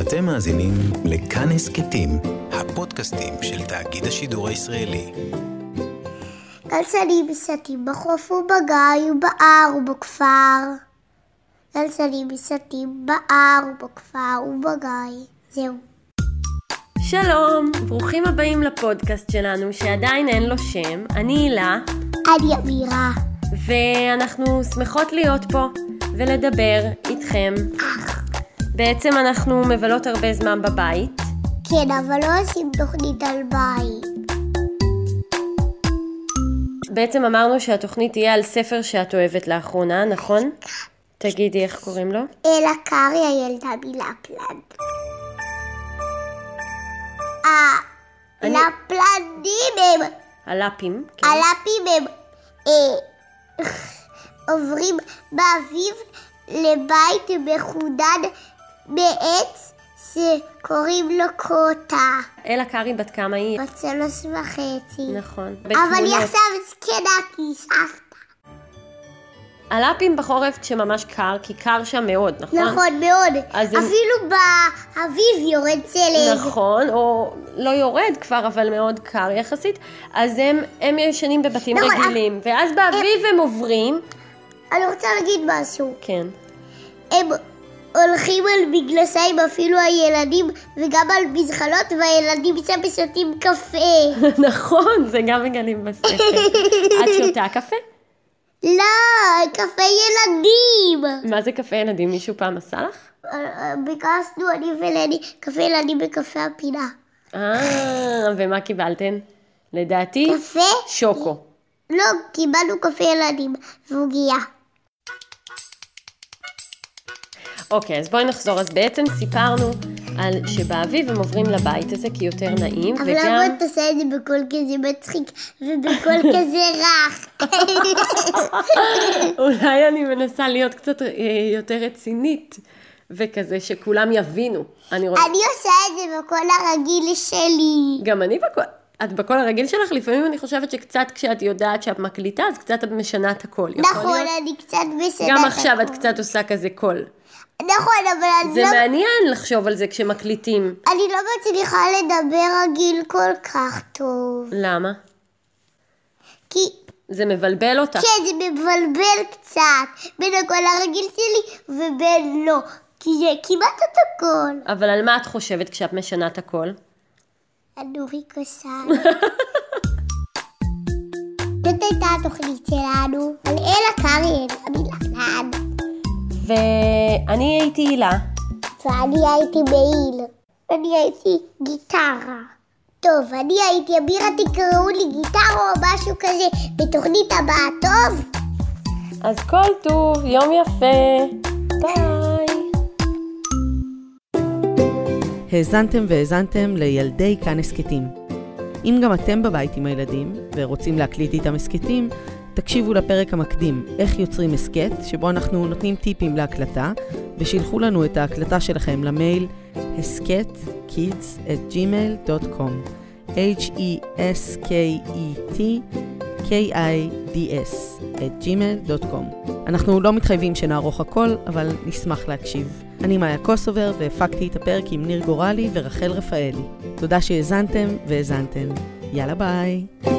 אתם מאזינים לכאן הסכתים, הפודקאסטים של תאגיד השידור הישראלי. גל סלים מסתי בחוף ובגיא ובהר ובכפר. גל סלים מסתי בהר ובכפר ובגיא. זהו. שלום, ברוכים הבאים לפודקאסט שלנו שעדיין אין לו שם, אני הילה, אני אמירה. ואנחנו שמחות להיות פה ולדבר איתכם. בעצם אנחנו מבלות הרבה זמן בבית, כן, אבל לא עושים תוכנית על בית. בעצם אמרנו שהתוכנית תהיה על ספר שאת אוהבת לאחרונה, נכון? תגידי איך קוראים לו. אלה קרעי הילדה מלפלנד. אני- הלפלנדים אה, הם, הלאפים. כן. הלפים הם אה, עוברים באביב לבית מחודד מעץ שקוראים לו קוטה. אלה קרעי בת כמה היא? בת שלוש וחצי. כן. נכון. אבל היא בתמונות. עכשיו זקנה כי היא סבתא. הלאפים בחורף כשממש קר, כי קר שם מאוד, נכון? נכון מאוד. אז אם- אפילו באביב יורד שלג. נכון, או לא יורד כבר, אבל מאוד קר יחסית, אז הם, הם ישנים בבתים נכון, רגילים, ואז באביב הם עוברים, אני רוצה להגיד משהו. כן, הם הולכים על מגלסיים אפילו הילדים וגם על מזחלות והילדים שם שותים קפה. נכון, זה גם מגלים בספר. את שותה קפה? לא, קפה ילדים. מה זה קפה ילדים? מישהו פעם עשה לך? ביקשנו אני ולני קפה ילדים בקפה הפינה. אה, ומה קיבלתן? לדעתי, קפה? שוקו. לא, קיבלנו קפה ילדים ועוגיה. אוקיי, אז בואי נחזור. אז בעצם סיפרנו על שבאביב הם עוברים לבית הזה כי יותר נעים, אבל למה וגם... את עושה את זה בקול כזה מצחיק ובקול כזה רך? אולי אני מנסה להיות קצת אה, יותר רצינית, וכזה שכולם יבינו. אני רוצה... אני עושה את זה בקול הרגיל שלי. גם אני בקול... את בקול הרגיל שלך, לפעמים אני חושבת שקצת כשאת יודעת שאת מקליטה, אז קצת את משנה את הקול. יכול נכון, להיות? אני קצת בסדר. גם עכשיו את קצת עושה כזה קול. נכון, אבל אני זה לא, מעניין לחשוב על זה כשמקליטים. אני לא מצליחה לדבר רגיל כל כך טוב. למה? כי, זה מבלבל אותך. כן, זה מבלבל קצת בין הקול הרגיל שלי ובין לא. כי זה כמעט אותו קול. אבל על מה את חושבת כשאת משנה את הקול? אנורי קוסן. זאת הייתה התוכנית שלנו, על אלה קארין, המלחנן, ואני הייתי הילה. ואני הייתי מעיל, אני הייתי גיטרה. טוב, אני הייתי אבירה, תקראו לי גיטרה או משהו כזה בתוכנית הבאה, טוב? אז כל טוב, יום יפה. ביי. האזנתם והאזנתם לילדי כאן הסכתים. אם גם אתם בבית עם הילדים ורוצים להקליט איתם הסכתים, תקשיבו לפרק המקדים, איך יוצרים הסכת, שבו אנחנו נותנים טיפים להקלטה, ושילחו לנו את ההקלטה שלכם למייל הסכתkids@gmail.com E h-e-s-k-e-t kids at gmail.com. אנחנו לא מתחייבים שנערוך הכל, אבל נשמח להקשיב. אני מאיה קוסובר, והפקתי את הפרק עם ניר גורלי ורחל רפאלי. תודה שהאזנתם והאזנתם. יאללה ביי.